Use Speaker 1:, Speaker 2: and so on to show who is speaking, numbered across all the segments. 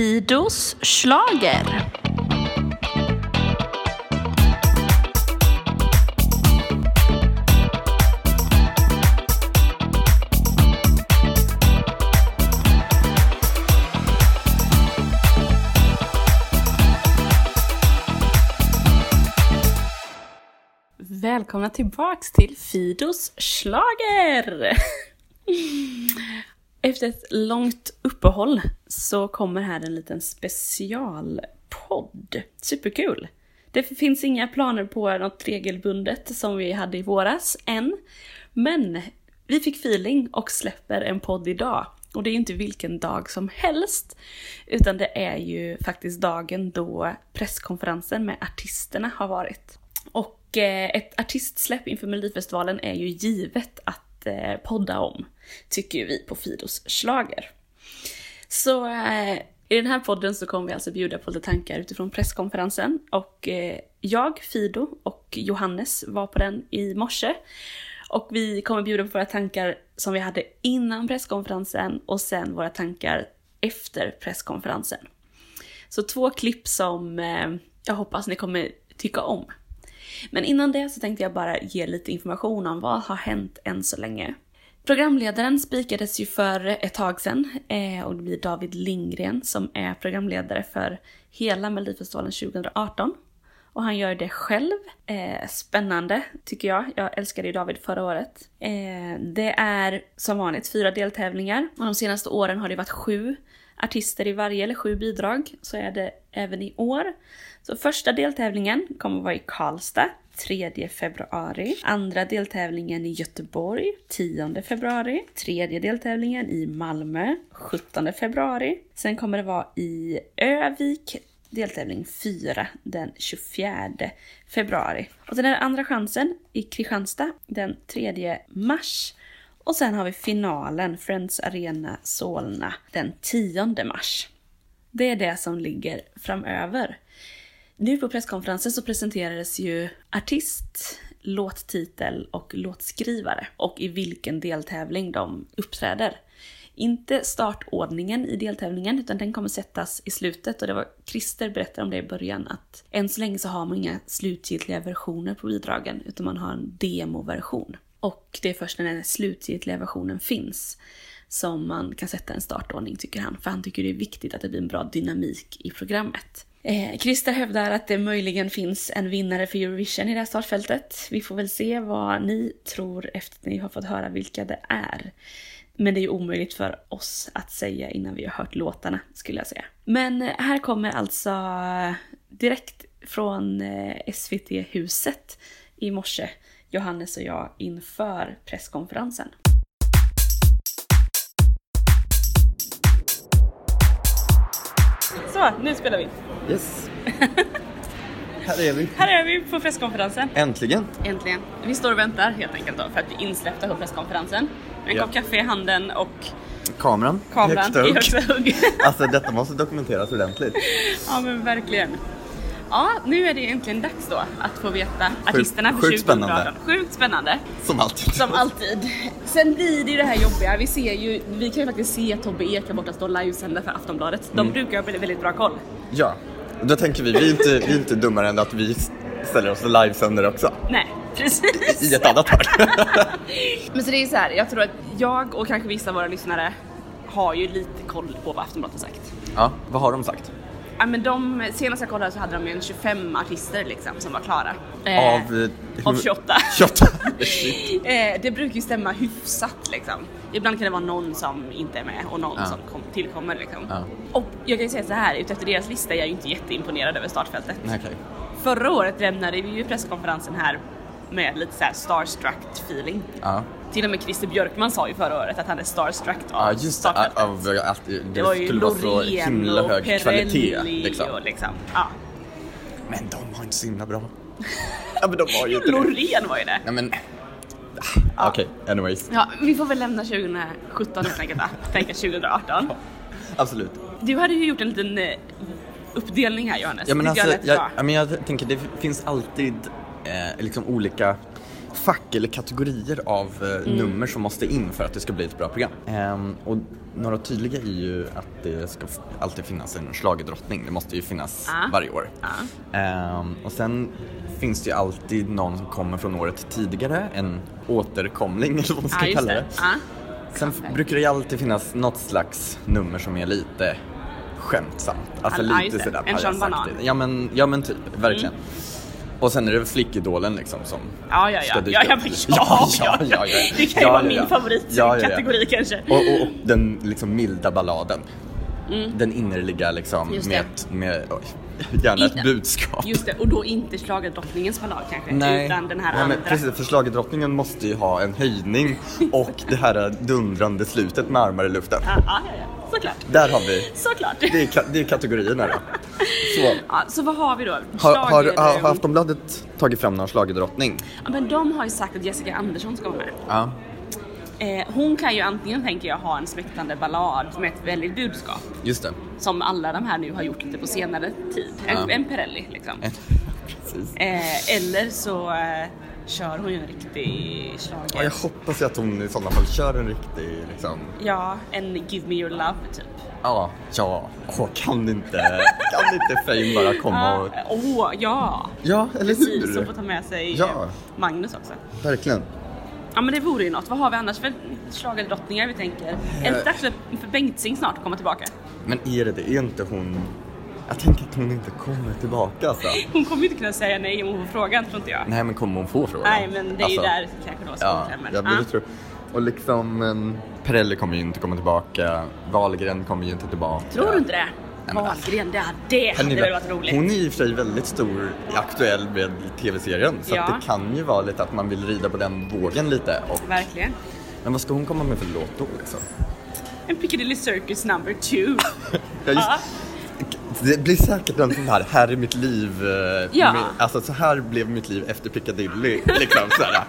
Speaker 1: Tidos schlager. Välkomna tillbaks till Fidos schlager! Efter ett långt uppehåll så kommer här en liten specialpodd. Superkul! Det finns inga planer på något regelbundet som vi hade i våras än. Men vi fick feeling och släpper en podd idag. Och det är ju inte vilken dag som helst, utan det är ju faktiskt dagen då presskonferensen med artisterna har varit. Och eh, ett artistsläpp inför Melodifestivalen är ju givet att eh, podda om, tycker ju vi på Fidos schlager. Så eh, i den här podden så kommer vi alltså bjuda på lite tankar utifrån presskonferensen och eh, jag, Fido och Johannes var på den i morse. Och vi kommer bjuda på våra tankar som vi hade innan presskonferensen och sen våra tankar efter presskonferensen. Så två klipp som eh, jag hoppas ni kommer tycka om. Men innan det så tänkte jag bara ge lite information om vad har hänt än så länge. Programledaren spikades ju för ett tag sedan eh, och det blir David Lindgren som är programledare för hela Melodifestivalen 2018. Och han gör det själv. Eh, spännande tycker jag. Jag älskade ju David förra året. Eh, det är som vanligt fyra deltävlingar och de senaste åren har det varit sju artister i varje eller sju bidrag. Så är det även i år. Så första deltävlingen kommer vara i Karlstad 3 februari. Andra deltävlingen i Göteborg 10 februari. Tredje deltävlingen i Malmö 17 februari. Sen kommer det vara i Övik deltävling 4 den 24 februari. Och sen är det andra chansen i Kristianstad den 3 mars. Och sen har vi finalen, Friends Arena Solna, den 10 mars. Det är det som ligger framöver. Nu på presskonferensen så presenterades ju artist, låttitel och låtskrivare och i vilken deltävling de uppträder. Inte startordningen i deltävlingen utan den kommer sättas i slutet och det var Christer berättade om det i början att än så länge så har man inga slutgiltiga versioner på bidragen utan man har en demoversion. Och det är först när den slutgiltiga versionen finns som man kan sätta en startordning tycker han. För han tycker det är viktigt att det blir en bra dynamik i programmet. Eh, Christer hävdar att det möjligen finns en vinnare för Eurovision i det här startfältet. Vi får väl se vad ni tror efter att ni har fått höra vilka det är. Men det är ju omöjligt för oss att säga innan vi har hört låtarna skulle jag säga. Men eh, här kommer alltså direkt från eh, SVT-huset i morse Johannes och jag inför presskonferensen. Så, nu spelar vi.
Speaker 2: Yes. Här är vi.
Speaker 1: Här är vi på presskonferensen.
Speaker 2: Äntligen.
Speaker 1: Äntligen. Vi står och väntar helt enkelt då för att vi är insläppta på presskonferensen. Med en
Speaker 2: Ja.
Speaker 1: kopp kaffe i handen och
Speaker 2: Kameran.
Speaker 1: kameran i
Speaker 2: högsta
Speaker 1: högsta
Speaker 2: hugg.
Speaker 1: hugg.
Speaker 2: Alltså detta måste dokumenteras ordentligt.
Speaker 1: ja men verkligen. Ja, nu är det äntligen dags då att få veta artisterna för 2018.
Speaker 2: sjukt spännande.
Speaker 1: Sjukt spännande.
Speaker 2: Som alltid.
Speaker 1: Som alltid. Sen blir det ju det här jobbiga. Vi ser ju, vi kan ju faktiskt se Tobbe Ek där borta stå och livesända för Aftonbladet.
Speaker 2: Mm.
Speaker 1: De brukar ha väldigt, väldigt bra koll.
Speaker 2: Ja. Då tänker vi, vi är inte, vi är inte dummare än att vi ställer oss livesänder också.
Speaker 1: Nej, precis.
Speaker 2: I ett annat hörn.
Speaker 1: Men så det är så här, jag tror att jag och kanske vissa av våra lyssnare har ju lite koll på vad Aftonbladet har sagt.
Speaker 2: ja, vad har de sagt?
Speaker 1: Ja, men de, senast jag kollade så hade de ju en 25 artister liksom som var klara.
Speaker 2: Av, eh,
Speaker 1: av 28.
Speaker 2: 28.
Speaker 1: Eh, det brukar ju stämma hyfsat liksom. Ibland kan det vara någon som inte är med och någon
Speaker 2: Ja.
Speaker 1: som kom, tillkommer liksom.
Speaker 2: Ja.
Speaker 1: Och jag kan ju säga så här, utefter deras lista är jag ju inte jätteimponerad över startfältet.
Speaker 2: Nej, okej.
Speaker 1: Förra året lämnade vi ju presskonferensen här med lite så här starstruck feeling.
Speaker 2: Ja.
Speaker 1: Till och med Christer Björkman sa ju förra året att han är starstruck av
Speaker 2: ja, just det.
Speaker 1: startfältet.
Speaker 2: Ja, av- att det,
Speaker 1: det var ju
Speaker 2: skulle vara så
Speaker 1: Loreen
Speaker 2: himla
Speaker 1: och
Speaker 2: hög
Speaker 1: Perrelli
Speaker 2: kvalitet. Liksom.
Speaker 1: och liksom. Ja.
Speaker 2: Men de var inte så himla bra. ja, men de var ju inte Typ det.
Speaker 1: Loreen var ju det.
Speaker 2: Ja, men... Ah, Okej, anyways.
Speaker 1: Ja, vi får väl lämna 2017 helt enkelt va? Tänka 2018.
Speaker 2: Absolut.
Speaker 1: Du hade ju gjort en liten eh, uppdelning här Johannes.
Speaker 2: Ja, men
Speaker 1: Tycker
Speaker 2: alltså,
Speaker 1: lät
Speaker 2: jag,
Speaker 1: bra.
Speaker 2: ja, men jag tänker det finns alltid eh, liksom olika fack eller kategorier av eh,
Speaker 1: Mm.
Speaker 2: nummer som måste in för att det ska bli ett bra program. Ehm, och några tydliga är ju att det ska f- alltid finnas en schlagerdrottning. Det måste ju finnas
Speaker 1: Ah.
Speaker 2: varje år. Ehm, och sen finns det ju alltid någon som kommer från året tidigare, en återkomling eller vad man ska
Speaker 1: Ja, Ah, just
Speaker 2: kalla det.
Speaker 1: det. Ja.
Speaker 2: Sen f- brukar det ju alltid finnas något slags nummer som är lite skämtsamt. Alltså
Speaker 1: Ja, just
Speaker 2: lite
Speaker 1: det.
Speaker 2: sådär
Speaker 1: En Sean
Speaker 2: pajatsaktigt.
Speaker 1: Banan.
Speaker 2: Ja men, ja men typ, verkligen. Och sen är det flickidolen liksom som
Speaker 1: Ja, ja, ja.
Speaker 2: ska dyka
Speaker 1: Ja, ja,
Speaker 2: upp.
Speaker 1: men ja, ja, ja, Det kan ju vara min favoritkategori
Speaker 2: ja.
Speaker 1: kanske.
Speaker 2: Och, och, och den liksom milda balladen. Den innerliga liksom
Speaker 1: Mm. Just det.
Speaker 2: med, ett- med oj, gärna ett
Speaker 1: In-
Speaker 2: budskap.
Speaker 1: Just det, och då inte schlagerdrottningens ballad kanske, utan den här
Speaker 2: Nej, men
Speaker 1: andra.
Speaker 2: precis, förslaget drottningen måste ju ha en höjning och det här dundrande slutet med armar i luften.
Speaker 1: Ja, ja, ja, ja. Såklart.
Speaker 2: Där har vi.
Speaker 1: Såklart.
Speaker 2: Det är, ka- det är kategorierna då. Så.
Speaker 1: Ja, så vad har vi då?
Speaker 2: Har, har, har,
Speaker 1: Schlager- eh,
Speaker 2: har Aftonbladet tagit fram någon schlagerdrottning?
Speaker 1: Ja, men de har ju sagt att Jessica Andersson ska vara med.
Speaker 2: Ja.
Speaker 1: Eh, hon kan ju antingen, tänker jag, ha en smäktande ballad med ett väldigt budskap.
Speaker 2: Just det.
Speaker 1: Som alla de här nu har gjort lite på senare tid. En,
Speaker 2: Ja.
Speaker 1: en Perrelli liksom.
Speaker 2: Precis.
Speaker 1: Eh, eller så eh, kör hon ju en riktig
Speaker 2: Ja,
Speaker 1: schlager.
Speaker 2: jag hoppas ju att hon i sådana fall kör en riktig liksom...
Speaker 1: Ja, en Give Me Your Love typ.
Speaker 2: Ja, ja. Åh, kan inte, kan inte Fame bara komma och...
Speaker 1: Ja, Åh, ja!
Speaker 2: Ja, eller
Speaker 1: Precis, som får
Speaker 2: hur?
Speaker 1: ta med sig eh,
Speaker 2: Ja.
Speaker 1: Magnus också.
Speaker 2: Verkligen.
Speaker 1: Ja men det vore ju något. Vad har vi annars för schlagerdrottningar vi tänker? Är
Speaker 2: Eh.
Speaker 1: det dags för för Bengtzing snart att komma tillbaka?
Speaker 2: Men är det det? Är inte hon... Jag tänker att hon inte kommer tillbaka alltså.
Speaker 1: Hon kommer ju inte kunna säga nej om hon får frågan tror inte jag.
Speaker 2: Nej, men kommer hon få frågan?
Speaker 1: Nej men det är ju
Speaker 2: Alltså,
Speaker 1: där kanske då som
Speaker 2: Ja,
Speaker 1: klämmer.
Speaker 2: jag
Speaker 1: Ah.
Speaker 2: borde tro. Och liksom, en, Perrelli kommer ju inte komma tillbaka. Wahlgren kommer ju inte tillbaka.
Speaker 1: Tror du inte det?
Speaker 2: men
Speaker 1: Wahlgren, det hade, det hade
Speaker 2: Henne-
Speaker 1: väl varit roligt?
Speaker 2: Hon är i och för sig väldigt stor, aktuell med tv-serien. Så
Speaker 1: Ja.
Speaker 2: att det kan ju vara lite att man vill rida på den vågen lite. Och,
Speaker 1: Verkligen.
Speaker 2: men vad ska hon komma med för låt då liksom?
Speaker 1: En Piccadilly Circus number two.
Speaker 2: Ja, just,
Speaker 1: Ja.
Speaker 2: Det blir säkert en sån här, här är mitt liv. eh,
Speaker 1: Ja.
Speaker 2: med- alltså så här blev mitt liv efter Piccadilly. Liksom, så här.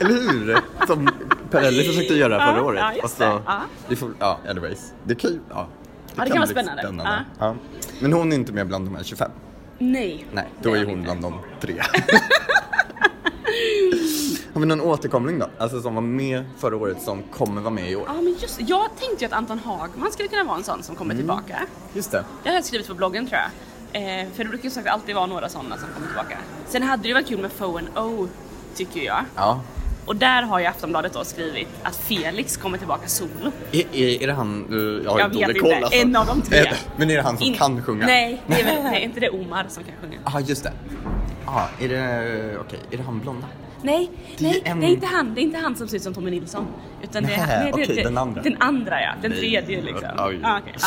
Speaker 2: Eller hur? Som Perrelli försökte göra
Speaker 1: Ja,
Speaker 2: förra året.
Speaker 1: ja, just
Speaker 2: Och så-
Speaker 1: det. Ja.
Speaker 2: vi får, ja, anyways. Det kan ju, ja.
Speaker 1: Ja, det kan vara spännande.
Speaker 2: Ja. Men hon är inte med bland de här 25.
Speaker 1: Nej.
Speaker 2: Nej, då
Speaker 1: det
Speaker 2: är
Speaker 1: var
Speaker 2: hon
Speaker 1: inte.
Speaker 2: bland de tre. Har vi någon återkomling då? Alltså som var med förra året som kommer vara med i år?
Speaker 1: Ja men just Jag tänkte ju att Anton Hagman skulle kunna vara en sån som kommer
Speaker 2: Mm.
Speaker 1: tillbaka.
Speaker 2: Just det.
Speaker 1: Det har jag skrivit på bloggen tror jag. Eh, för det brukar ju sagt alltid vara några sådana som kommer tillbaka. Sen hade det ju varit kul med Fo and O, tycker jag.
Speaker 2: Ja.
Speaker 1: Och där har ju Aftonbladet då skrivit att Felix kommer tillbaka solo.
Speaker 2: Är, är, är det han, eh, jag har
Speaker 1: Jag
Speaker 2: ju
Speaker 1: vet
Speaker 2: dålig
Speaker 1: inte.
Speaker 2: koll alltså.
Speaker 1: En av de tre.
Speaker 2: Eh, Men är det han som
Speaker 1: In-
Speaker 2: kan sjunga? Ah,
Speaker 1: Nej, det är väl, nej, inte det Omar som kan sjunga.
Speaker 2: Ja, just det. Ja, är det, okej, är det han blonda?
Speaker 1: Nej,
Speaker 2: Det är
Speaker 1: nej,
Speaker 2: en-
Speaker 1: det, är inte han, det är inte han som ser ut som Tommy Nilsson. Utan det är,
Speaker 2: Nej,
Speaker 1: det,
Speaker 2: okej,
Speaker 1: det,
Speaker 2: den andra.
Speaker 1: Den andra ja, den
Speaker 2: Nej.
Speaker 1: tredje liksom.
Speaker 2: Oj.
Speaker 1: Ah, okej, ah.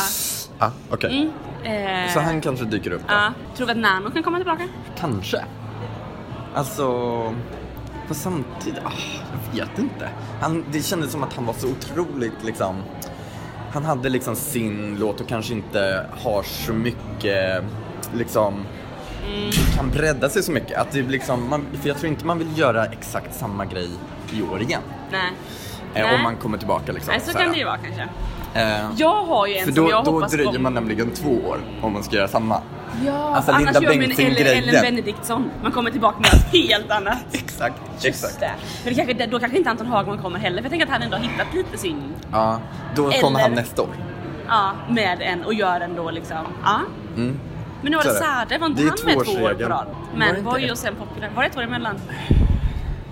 Speaker 2: Ja, okej.
Speaker 1: Mm, Ah. eh,
Speaker 2: Så han kanske dyker upp då?
Speaker 1: ja. Tror du att Nano kan komma tillbaka?
Speaker 2: Kanske. Alltså, på samtidigt, ah, jag vet inte. Han, det kändes som att han var så otroligt liksom, han hade liksom sin låt och kanske inte har så mycket liksom,
Speaker 1: Mm.
Speaker 2: kan bredda sig så mycket. Att det blir liksom, man, för jag tror inte man vill göra exakt samma grej i år igen.
Speaker 1: Nej.
Speaker 2: Eh,
Speaker 1: Nej.
Speaker 2: om man kommer tillbaka liksom.
Speaker 1: Nej, så
Speaker 2: här.
Speaker 1: kan det ju vara kanske.
Speaker 2: Eh,
Speaker 1: Jag har ju en
Speaker 2: för
Speaker 1: som
Speaker 2: då,
Speaker 1: jag
Speaker 2: då
Speaker 1: hoppas
Speaker 2: dröjer
Speaker 1: kommer-
Speaker 2: man nämligen två år om man ska göra samma.
Speaker 1: Ja,
Speaker 2: Alltså,
Speaker 1: annars gör
Speaker 2: Linda
Speaker 1: man en Ellen,
Speaker 2: Bengtzing-grejen.
Speaker 1: Ellen Benediktsson. Man kommer tillbaka med något helt annat.
Speaker 2: Exakt, exakt.
Speaker 1: Just det. Men det kanske, då kanske inte Anton Hagman kommer heller, för jag tänker att han ändå har hittat lite sin...
Speaker 2: Ja, då kommer
Speaker 1: Eller-
Speaker 2: han nästa år.
Speaker 1: Ja, med en och gör en då liksom. Ja.
Speaker 2: Mm.
Speaker 1: Men nu var det
Speaker 2: Så är det.
Speaker 1: Sade, var inte
Speaker 2: Det är
Speaker 1: han med två år på
Speaker 2: tvåårsregeln.
Speaker 1: rad?
Speaker 2: Var det
Speaker 1: Men
Speaker 2: inte
Speaker 1: var ju
Speaker 2: ett-
Speaker 1: och sen populär. Var det ett år emellan?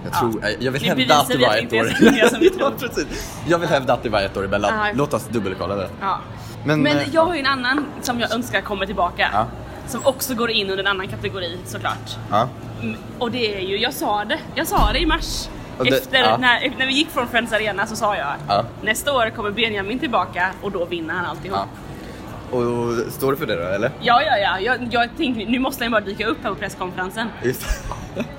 Speaker 2: Jag, tror, jag- jag vill
Speaker 1: Nu
Speaker 2: hävda
Speaker 1: bevisar
Speaker 2: att det
Speaker 1: vi att
Speaker 2: var
Speaker 1: det
Speaker 2: ett
Speaker 1: inte är
Speaker 2: år
Speaker 1: så många som vi tror.
Speaker 2: Ja, precis. Jag vill hävda att det var ett år emellan.
Speaker 1: Ja.
Speaker 2: Låt oss dubbelkolla det.
Speaker 1: Ja.
Speaker 2: Men,
Speaker 1: Men,
Speaker 2: eh,
Speaker 1: jag har ju en annan som jag önskar kommer tillbaka.
Speaker 2: Ja.
Speaker 1: Som också går in under en annan kategori såklart.
Speaker 2: Ja.
Speaker 1: Mm, Och det är ju, jag sa det, jag sa det i mars.
Speaker 2: Och det-
Speaker 1: Efter,
Speaker 2: ja.
Speaker 1: när, när vi gick från Friends Arena så sa jag
Speaker 2: Ja.
Speaker 1: nästa år kommer Benjamin tillbaka och då vinner han alltihop.
Speaker 2: Ja. Och står du för det då, eller?
Speaker 1: Ja, ja, ja. Jag, jag tänkte, nu måste han bara dyka upp här på presskonferensen.
Speaker 2: Just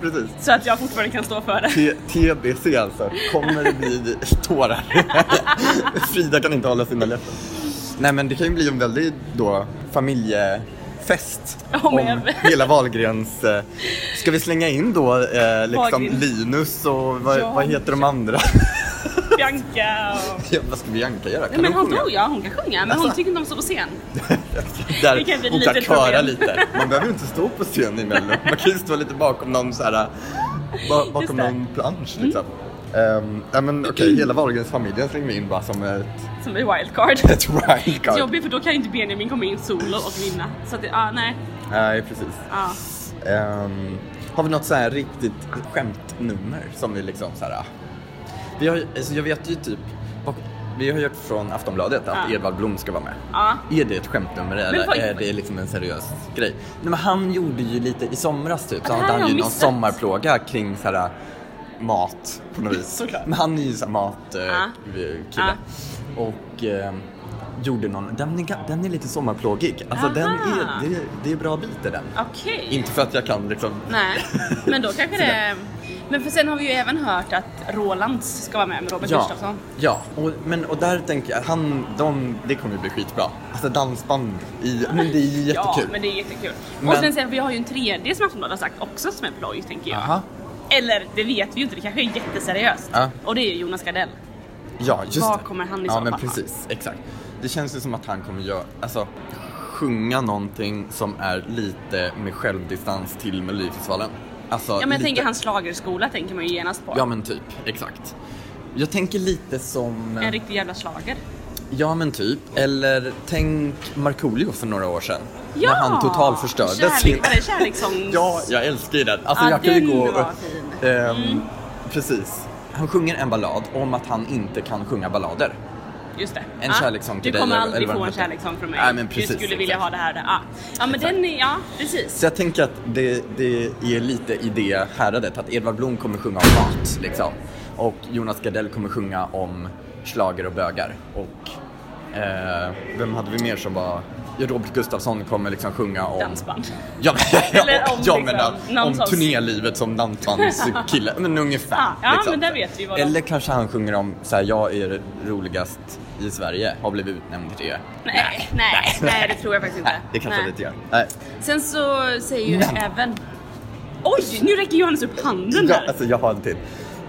Speaker 2: Precis.
Speaker 1: Så att jag fortfarande kan stå för det.
Speaker 2: T- TBC alltså, kommer det bli tårar? Frida kan inte hålla sina läppar. Nej men det kan ju bli en väldig då familjefest
Speaker 1: Ja,
Speaker 2: om
Speaker 1: men-
Speaker 2: hela Wahlgrens... eh, Ska vi slänga in då eh, liksom
Speaker 1: Wahlgren.
Speaker 2: Linus och vad,
Speaker 1: Ja.
Speaker 2: vad heter de andra?
Speaker 1: Bianca och...
Speaker 2: Ja, vad ska Bianca göra?
Speaker 1: Nej, men hon
Speaker 2: sjunga?
Speaker 1: tror ja, hon kan sjunga. Men hon
Speaker 2: Alltså.
Speaker 1: tycker inte om att stå på scen.
Speaker 2: Där,
Speaker 1: Det kan bli
Speaker 2: hon
Speaker 1: lite
Speaker 2: kan köra
Speaker 1: problem.
Speaker 2: lite. Man behöver inte stå på scen i Mello. Man kan ju stå lite bakom någon så här ba- bakom
Speaker 1: det. Mm.
Speaker 2: någon plansch liksom. Ehm, ja men okej, hela Wahlgrens-familjen slänger vi in bara som ett,
Speaker 1: Som är wildcard.
Speaker 2: ett wildcard.
Speaker 1: Jobbigt för då kan inte Benjamin komma in solo och vinna. Så att det, ah, nej.
Speaker 2: Nej, precis.
Speaker 1: Ah.
Speaker 2: Ehm, har vi något så här riktigt skämtnummer som vi liksom så här... ah. Vi har, ju- alltså jag vet ju typ, bak- vi har hört från Aftonbladet att
Speaker 1: Ja.
Speaker 2: Edvard Blom ska vara med.
Speaker 1: Ja.
Speaker 2: Är det ett skämtnummer eller
Speaker 1: vad-
Speaker 2: är det liksom en seriös grej? Nej, men han gjorde ju lite i somras typ, så
Speaker 1: det här
Speaker 2: hade
Speaker 1: har
Speaker 2: han ju
Speaker 1: jag
Speaker 2: någon
Speaker 1: missat.
Speaker 2: sommarplåga kring så här ah, mat på något vis.
Speaker 1: Såklart.
Speaker 2: Men han är ju så här matkille.
Speaker 1: Ja.
Speaker 2: kille Och eh, gjorde någon, den är, ga- den är lite sommarplågig. Alltså den
Speaker 1: Aha.
Speaker 2: är, det, är- det är bra bit i den.
Speaker 1: Okej.
Speaker 2: Inte för att jag kan liksom...
Speaker 1: Nej, men då kanske det... Men för sen har vi ju även hört att Rolands ska vara med med Robert
Speaker 2: Ja,
Speaker 1: Gustafsson.
Speaker 2: ja. Och, men, och där tänker jag, han, de, det kommer ju bli skitbra. Alltså dansband i, men det är ju
Speaker 1: Ja,
Speaker 2: jättekul.
Speaker 1: men det är jättekul. Och
Speaker 2: Men-
Speaker 1: sen sen, vi har ju en tredje som Aftonbladet har sagt också som är ploj, tänker jag.
Speaker 2: Aha.
Speaker 1: Eller det vet vi ju inte, det kanske är jätteseriöst.
Speaker 2: Ja.
Speaker 1: Och det är ju Jonas Gardell.
Speaker 2: Ja, just
Speaker 1: Vad
Speaker 2: det.
Speaker 1: kommer han liksom i
Speaker 2: Ja,
Speaker 1: så
Speaker 2: men
Speaker 1: fall?
Speaker 2: precis. Exakt. Det känns ju som att han kommer göra, alltså, sjunga någonting som är lite med självdistans till Melodifestivalen. Alltså,
Speaker 1: Ja, men jag
Speaker 2: lite...
Speaker 1: tänker hans schlagerskola tänker man ju genast på.
Speaker 2: Ja, men typ. Exakt. Jag tänker lite som...
Speaker 1: En riktig jävla slager.
Speaker 2: Ja, men typ. Eller tänk Markoolio för några år sedan.
Speaker 1: Ja!
Speaker 2: När han totalförstörde sin...
Speaker 1: Kärlek, var det kärlekssång?
Speaker 2: Ja, jag älskar ju den. Alltså
Speaker 1: Ja,
Speaker 2: jag kan ju
Speaker 1: den
Speaker 2: gå...
Speaker 1: var fin. Mm.
Speaker 2: Ehm, Precis. Han sjunger en ballad om att han inte kan sjunga ballader.
Speaker 1: Just det. Ah,
Speaker 2: En kärlekssång
Speaker 1: Du
Speaker 2: till dig,
Speaker 1: kommer
Speaker 2: eller-
Speaker 1: aldrig
Speaker 2: eller vad
Speaker 1: få en
Speaker 2: den heter.
Speaker 1: kärlekssång från mig.
Speaker 2: Nej, men precis,
Speaker 1: du skulle vilja
Speaker 2: exakt.
Speaker 1: ha det här. och det. Ah. Ja, men den är... Ja, precis.
Speaker 2: Så jag tänker att det, det är lite i det häradet att Edvard Blom kommer sjunga om mat liksom. Och Jonas Gardell kommer sjunga om slager och bögar. Och eh, vem hade vi mer som var... Ja, Robert Gustafsson kommer liksom sjunga om...
Speaker 1: Dansband.
Speaker 2: Ja, men,
Speaker 1: Eller om
Speaker 2: ja,
Speaker 1: liksom
Speaker 2: men,
Speaker 1: någon
Speaker 2: om
Speaker 1: sorts-
Speaker 2: turnélivet som dansbandskille. men ungefär.
Speaker 1: Ah,
Speaker 2: liksom.
Speaker 1: Ja, ja, men där vet vi vad de-
Speaker 2: Eller kanske han sjunger om så här, jag är roligast i Sverige, har blivit utnämnd till det.
Speaker 1: Nej, nej, nej, det tror jag faktiskt inte.
Speaker 2: Nej, det kanske
Speaker 1: Nej.
Speaker 2: jag inte gör. Nej.
Speaker 1: Sen så säger ju
Speaker 2: Men-
Speaker 1: även... Oj, nu räcker Johannes upp handen
Speaker 2: Ja,
Speaker 1: här.
Speaker 2: alltså jag har en till.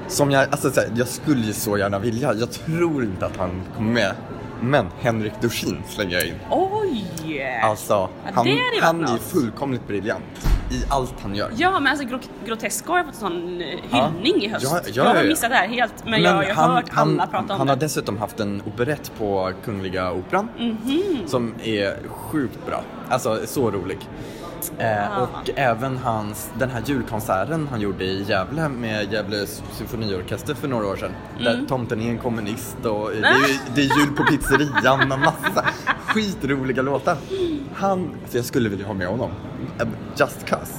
Speaker 2: Som jag, alltså så här, jag skulle ju så gärna vilja. Jag tror inte att han kommer med. Men Henrik Dorsin slänger jag in.
Speaker 1: Oj!
Speaker 2: Alltså,
Speaker 1: det
Speaker 2: han,
Speaker 1: hade ju varit
Speaker 2: han är
Speaker 1: något.
Speaker 2: fullkomligt briljant i allt han gör.
Speaker 1: Ja, men alltså Gro- Grotesco har fått en sån eh,
Speaker 2: Ja.
Speaker 1: hyllning i höst.
Speaker 2: Ja, ja,
Speaker 1: jag har
Speaker 2: ja, ja.
Speaker 1: missat det här helt, men, jag har ju hört alla prata om
Speaker 2: han
Speaker 1: det.
Speaker 2: har dessutom haft en operett på Kungliga Operan
Speaker 1: Mhm.
Speaker 2: som är sjukt bra. Alltså så rolig. Eh,
Speaker 1: Ah.
Speaker 2: och även hans, den här julkonserten han gjorde i Gävle med Gävle symfoniorkester för några år sedan.
Speaker 1: Mm.
Speaker 2: Där tomten är en kommunist och det
Speaker 1: Ah!
Speaker 2: är, det är jul på pizzerian och massa skitroliga låtar. Han, så jag skulle vilja ha med honom. Eh, Just cause.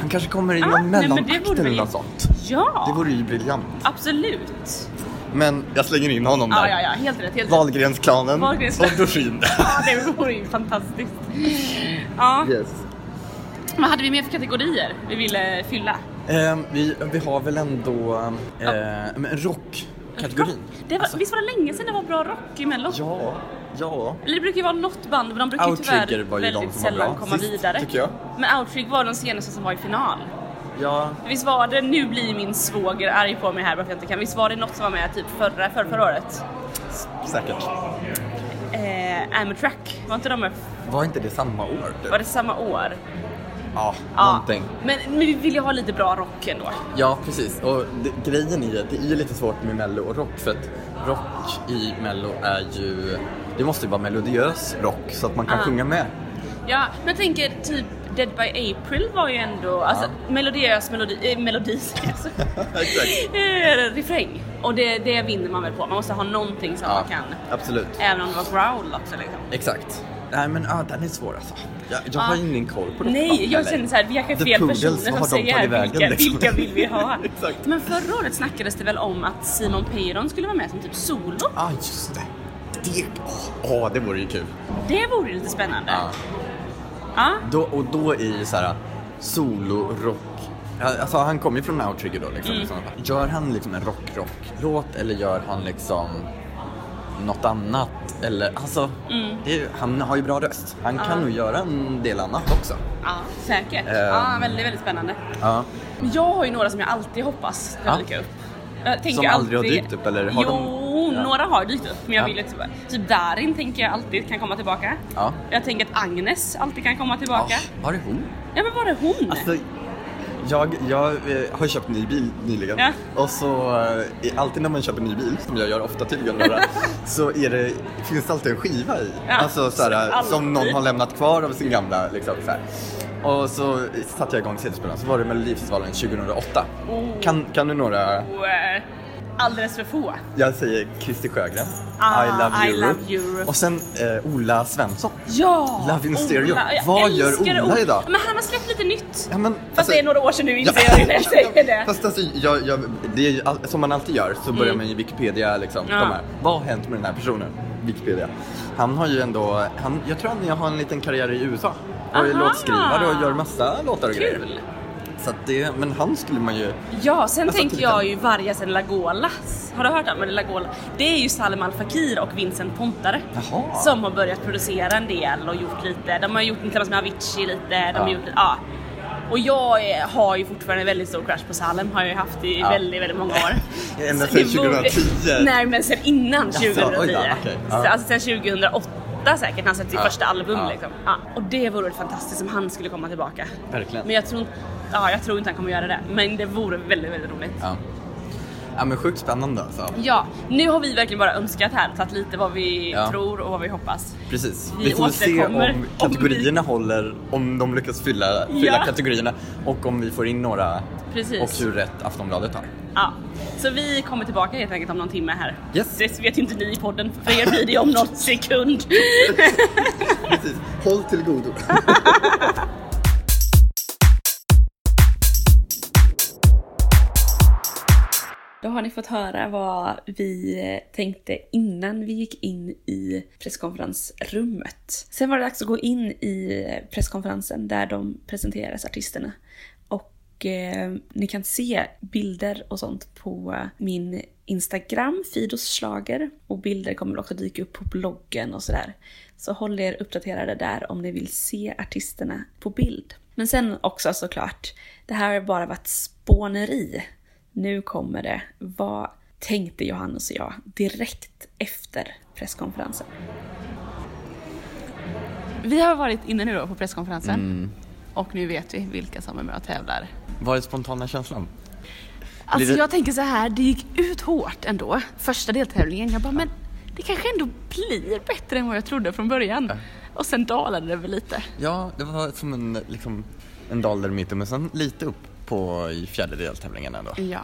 Speaker 2: Han kanske kommer i
Speaker 1: Ah,
Speaker 2: någon
Speaker 1: nej, men det
Speaker 2: mellanakt
Speaker 1: vore
Speaker 2: eller
Speaker 1: väl-
Speaker 2: något sånt.
Speaker 1: Ja,
Speaker 2: Det vore ju briljant.
Speaker 1: absolut.
Speaker 2: Men jag slänger in honom
Speaker 1: Ja,
Speaker 2: där.
Speaker 1: ja, ja, helt rätt. Helt rätt.
Speaker 2: Wahlgrensklanen
Speaker 1: Wahlgrens-
Speaker 2: och Dorsin.
Speaker 1: Ja, det vore ju fantastiskt. Ja,
Speaker 2: yes.
Speaker 1: vad hade vi mer för kategorier vi ville fylla?
Speaker 2: Ehm, vi, vi har väl ändå eh, men rockkategorin?
Speaker 1: Det var,
Speaker 2: Alltså,
Speaker 1: visst var det länge sedan det var bra rock i Mello?
Speaker 2: ja, ja.
Speaker 1: Eller det brukar ju vara något band, men de brukar ju tyvärr
Speaker 2: Outrigger var ju de
Speaker 1: väldigt
Speaker 2: som var
Speaker 1: sällan
Speaker 2: bra
Speaker 1: komma
Speaker 2: sist,
Speaker 1: vidare.
Speaker 2: tycker jag.
Speaker 1: Men Outrigger var de senaste som var i final.
Speaker 2: ja.
Speaker 1: Visst var det, nu blir min svåger arg på mig här varför jag inte kan, visst var det något som var med typ förra, förra, förra året?
Speaker 2: Säkert.
Speaker 1: Eh, Amtrak, var inte de med,
Speaker 2: Var inte det samma år? typ?
Speaker 1: var det samma år?
Speaker 2: Ja,
Speaker 1: Ja.
Speaker 2: någonting.
Speaker 1: Men, men vi vill ju ha lite bra rock ändå.
Speaker 2: Ja, precis. Och det, grejen är ju att det är ju lite svårt med Mello och rock för att rock i Mello är ju... Det måste ju vara melodiös rock så att man kan
Speaker 1: Ah.
Speaker 2: sjunga med.
Speaker 1: Ja, men jag tänker typ Dead by April var ju ändå, alltså melodiös melodi, eh, melodi alltså.
Speaker 2: Exakt.
Speaker 1: eh, refräng. Och det, det vinner man väl på, man måste ha någonting som man kan.
Speaker 2: absolut.
Speaker 1: Även om det var growl också liksom.
Speaker 2: Exakt. Nej men ah, den är svår alltså. Jag, jag
Speaker 1: Ja.
Speaker 2: har ingen koll på det. Ah.
Speaker 1: Nej, jag känner såhär, vi kanske är
Speaker 2: The
Speaker 1: fel
Speaker 2: Poodles,
Speaker 1: personer
Speaker 2: vad
Speaker 1: som
Speaker 2: har de
Speaker 1: säger
Speaker 2: tagit
Speaker 1: vilka,
Speaker 2: vägen, liksom?
Speaker 1: vilka vill vi ha?
Speaker 2: Exakt.
Speaker 1: Men förra året snackades det väl om att Simon Peyron skulle vara med som typ solo?
Speaker 2: Ah, just det. Det, åh, åh, det vore ju kul.
Speaker 1: Det vore ju lite spännande.
Speaker 2: Ja.
Speaker 1: Ja.
Speaker 2: Då, och då är ju såhär solorock. Alltså han kommer ju från Outrigger då
Speaker 1: Mm.
Speaker 2: liksom. liksom. Gör han liksom en rock-rock-låt eller gör han liksom något annat? Eller alltså,
Speaker 1: Mm.
Speaker 2: det är, ju- han har ju bra röst. Han kan
Speaker 1: Ah.
Speaker 2: nog göra en del annat också.
Speaker 1: Ja, säkert.
Speaker 2: Ehm.
Speaker 1: Ja, väldigt, väldigt spännande.
Speaker 2: Ja.
Speaker 1: Men Jag har ju några som jag alltid hoppas ska
Speaker 2: Ja.
Speaker 1: dyka upp. Jag tänker
Speaker 2: Som aldrig har
Speaker 1: alltid-
Speaker 2: dykt upp, eller har
Speaker 1: jo,
Speaker 2: de- Ja.
Speaker 1: några har dykt upp men jag
Speaker 2: Ja.
Speaker 1: vill ju typ, typ Darin tänker jag alltid kan komma tillbaka.
Speaker 2: Ja.
Speaker 1: Jag tänker att Agnes alltid kan komma tillbaka.
Speaker 2: Ah, var är hon?
Speaker 1: Ja men var är hon?
Speaker 2: Alltså, Jag, jag eh, har köpt ny bil nyligen
Speaker 1: Ja.
Speaker 2: och så eh, i- alltid när man köper ny bil, som jag gör ofta tydligen bara, så är det, finns det alltid en skiva i.
Speaker 1: Ja,
Speaker 2: Alltså såhär,
Speaker 1: alltid.
Speaker 2: som någon har lämnat kvar av sin gamla liksom såhär. Och så satte jag igång CD-spelaren, så var det Melodifestivalen 2008.
Speaker 1: Oh.
Speaker 2: Kan, kan du några?
Speaker 1: Och, eh, alldeles för få.
Speaker 2: Jag säger Christer Sjögren,
Speaker 1: Ah,
Speaker 2: I, love,
Speaker 1: I
Speaker 2: Europe.
Speaker 1: Love Europe.
Speaker 2: Och sen eh, Ola Svensson.
Speaker 1: Ja!
Speaker 2: Love in stereo.
Speaker 1: Ola, jag
Speaker 2: Vad gör
Speaker 1: älskar
Speaker 2: Ola idag?
Speaker 1: Men han har släppt lite nytt.
Speaker 2: Ja, men, alltså,
Speaker 1: Fast det är några år sedan nu inser jag när jag säger det.
Speaker 2: Fast alltså, jag, jag, det är ju, all- som man alltid gör så börjar man ju Wikipedia liksom.
Speaker 1: Mm. Ja.
Speaker 2: De här, vad har hänt med den här personen? Wikipedia. Han har ju ändå, han, jag tror han har en liten karriär i USA. Och är
Speaker 1: Aha.
Speaker 2: låtskrivare och gör massa låtar och
Speaker 1: Kul!
Speaker 2: grejer. Så att det, men han skulle man ju,
Speaker 1: Ja, sen
Speaker 2: Alltså,
Speaker 1: tänker
Speaker 2: typ
Speaker 1: jag
Speaker 2: den-
Speaker 1: ju Vargas El Lagolas. Har du hört om El Lagolas? Det är ju Salem Al Fakir och Vincent Pontare.
Speaker 2: Jaha.
Speaker 1: Som har börjat producera en del och gjort lite. De har gjort den tillsammans med Avicii lite. De har
Speaker 2: Ja.
Speaker 1: gjort, ja. Och jag är, har ju fortfarande en väldigt stor crush på Salem. Har jag ju haft i
Speaker 2: Ja.
Speaker 1: väldigt, väldigt många år.
Speaker 2: Ända
Speaker 1: Så det
Speaker 2: sedan
Speaker 1: borde-
Speaker 2: 2010.
Speaker 1: Nej, men sen innan
Speaker 2: Jaså,
Speaker 1: 2010.
Speaker 2: oj då, okej. Ja.
Speaker 1: Så, alltså sen 2008 säkert, han släppte sitt
Speaker 2: Ja.
Speaker 1: första album
Speaker 2: Ja.
Speaker 1: liksom. Ja. Och det vore väl fantastiskt om han skulle komma tillbaka.
Speaker 2: verkligen.
Speaker 1: Men jag tror, inte- ja, jag tror inte han kommer göra det, men det vore väldigt, väldigt roligt. Ja.
Speaker 2: ja. ja men sjukt spännande alltså.
Speaker 1: nu har vi verkligen bara önskat här, tagit lite vad vi
Speaker 2: Ja.
Speaker 1: tror och vad vi hoppas.
Speaker 2: Precis.
Speaker 1: Vi
Speaker 2: Vi får väl se
Speaker 1: återkommer om
Speaker 2: om kategorierna håller, om de lyckas fylla, fylla
Speaker 1: Ja.
Speaker 2: kategorierna och om vi får in några
Speaker 1: Precis.
Speaker 2: och hur rätt Aftonbladet har.
Speaker 1: Ja. Så vi kommer tillbaka helt enkelt om någon timme här.
Speaker 2: Yes.
Speaker 1: Det vet ju inte ni i podden, för er blir det om någon sekund.
Speaker 2: Precis. Håll till godo.
Speaker 1: Då har ni fått höra vad vi tänkte innan vi gick in i presskonferensrummet. Sen var det dags att gå in i presskonferensen där de presenteras artisterna. Och eh, ni kan se bilder och sånt på min Instagram, Fidos slager. Och bilder kommer också dyka upp på bloggen och sådär. Så håll er uppdaterade där om ni vill se artisterna på bild. Men sen också såklart, det här har bara varit spåneri. Nu kommer det. Vad tänkte Johannes och jag direkt efter presskonferensen? Vi har varit inne nu då på presskonferensen och nu vet vi vilka som är med och tävlar.
Speaker 2: Vad är spontana känslan?
Speaker 1: Alltså
Speaker 2: Blir det-
Speaker 1: jag tänker så här, det gick ut hårt ändå, första deltävlingen. Jag bara, men det kanske ändå blir bättre än vad jag trodde från början. Och sen dalade det väl lite.
Speaker 2: Ja, det var som en, liksom, en dal där i mitten men sen lite upp på i fjärde deltävlingen ändå.
Speaker 1: Ja.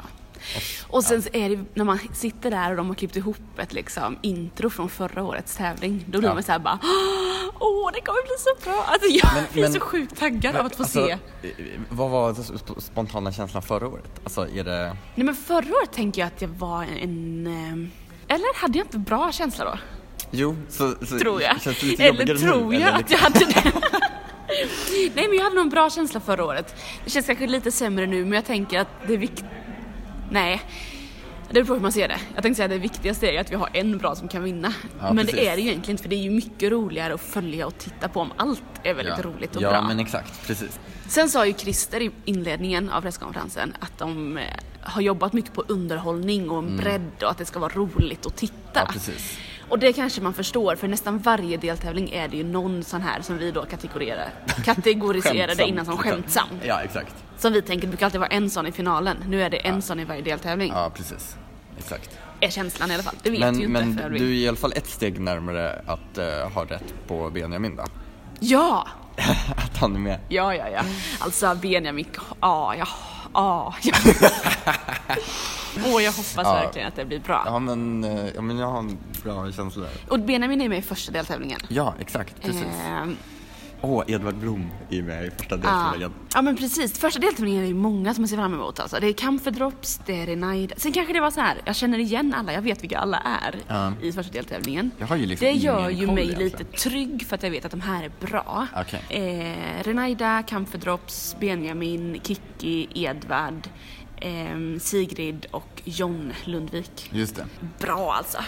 Speaker 1: Och sen så är det ju när man sitter där och de har klippt ihop ett liksom intro från förra årets tävling. Då blir
Speaker 2: Ja.
Speaker 1: man så här bara Åh, det kommer bli så bra! Alltså jag
Speaker 2: Men-
Speaker 1: blir
Speaker 2: men-
Speaker 1: så sjukt taggad av att få
Speaker 2: Alltså,
Speaker 1: se.
Speaker 2: eh, Vad var sp- spontana känslan förra året? Alltså är det...
Speaker 1: Nej men förra året tänker jag att jag var en... ehm, Eller hade jag inte bra känsla då?
Speaker 2: Jo, så, så
Speaker 1: Tror jag.
Speaker 2: känns det lite
Speaker 1: Eller
Speaker 2: jobbigare
Speaker 1: tror
Speaker 2: nu,
Speaker 1: jag
Speaker 2: eller liksom-
Speaker 1: att jag hade det? Nej men jag hade nog en bra känsla förra året. Det känns kanske lite sämre nu men jag tänker att det är vikt... Nej. Det beror på hur man ser det. Jag tänkte säga att det viktigaste är ju att vi har en bra som kan vinna.
Speaker 2: Ja,
Speaker 1: men det
Speaker 2: precis.
Speaker 1: är det ju egentligen inte för det är ju mycket roligare att följa och titta på om allt är väldigt roligt och
Speaker 2: ja,
Speaker 1: bra.
Speaker 2: Ja men exakt, precis.
Speaker 1: Sen sa ju Christer i inledningen av presskonferensen att de eh, har jobbat mycket på underhållning och en bredd och att det ska vara roligt att titta.
Speaker 2: Mm. Ja, precis.
Speaker 1: Och det kanske man förstår för nästan varje deltävling är det ju någon sån här som vi då kategoriserar, kategoriserade
Speaker 2: Skämtsamt,
Speaker 1: innan som
Speaker 2: liksom.
Speaker 1: skämtsam.
Speaker 2: Ja, exakt.
Speaker 1: Som vi tänker, det brukar alltid vara en sån i finalen. Nu är det en sån i varje deltävling.
Speaker 2: Ja, precis. Exakt.
Speaker 1: Är känslan i alla fall. Det vet vi ju
Speaker 2: Men,
Speaker 1: inte. för
Speaker 2: men du är i alla fall ett steg närmare att eh, ha rätt på Benjamin då.
Speaker 1: Ja!
Speaker 2: Att han är med.
Speaker 1: Ja, ja, ja. Alltså Benjamin, ja, ja, ja. ja. Åh, jag hoppas verkligen att det blir bra.
Speaker 2: Ja men, eh, ja, men jag har en bra känsla där.
Speaker 1: Och Benjamin är med i första deltävlingen.
Speaker 2: Ja, exakt. Precis.
Speaker 1: Ehm,
Speaker 2: Åh, Edvard Blom är med i första
Speaker 1: ja.
Speaker 2: deltävlingen.
Speaker 1: ja men precis, första deltävlingen är det ju många som man ser fram emot alltså. Det är Camphor Drops, det är Renaida. Sen kanske det var så här, jag känner igen alla, jag vet vilka alla är
Speaker 2: Ja.
Speaker 1: i första deltävlingen.
Speaker 2: Jag har ju liksom
Speaker 1: det gör
Speaker 2: ingen
Speaker 1: ju
Speaker 2: koll
Speaker 1: mig
Speaker 2: egentligen.
Speaker 1: lite trygg för att jag vet att de här är bra.
Speaker 2: Okej.
Speaker 1: Eh, Renaida, Camphor Drops, Benjamin, Kikki, Edvard, ehm, Sigrid och John Lundvik.
Speaker 2: Just det.
Speaker 1: bra alltså.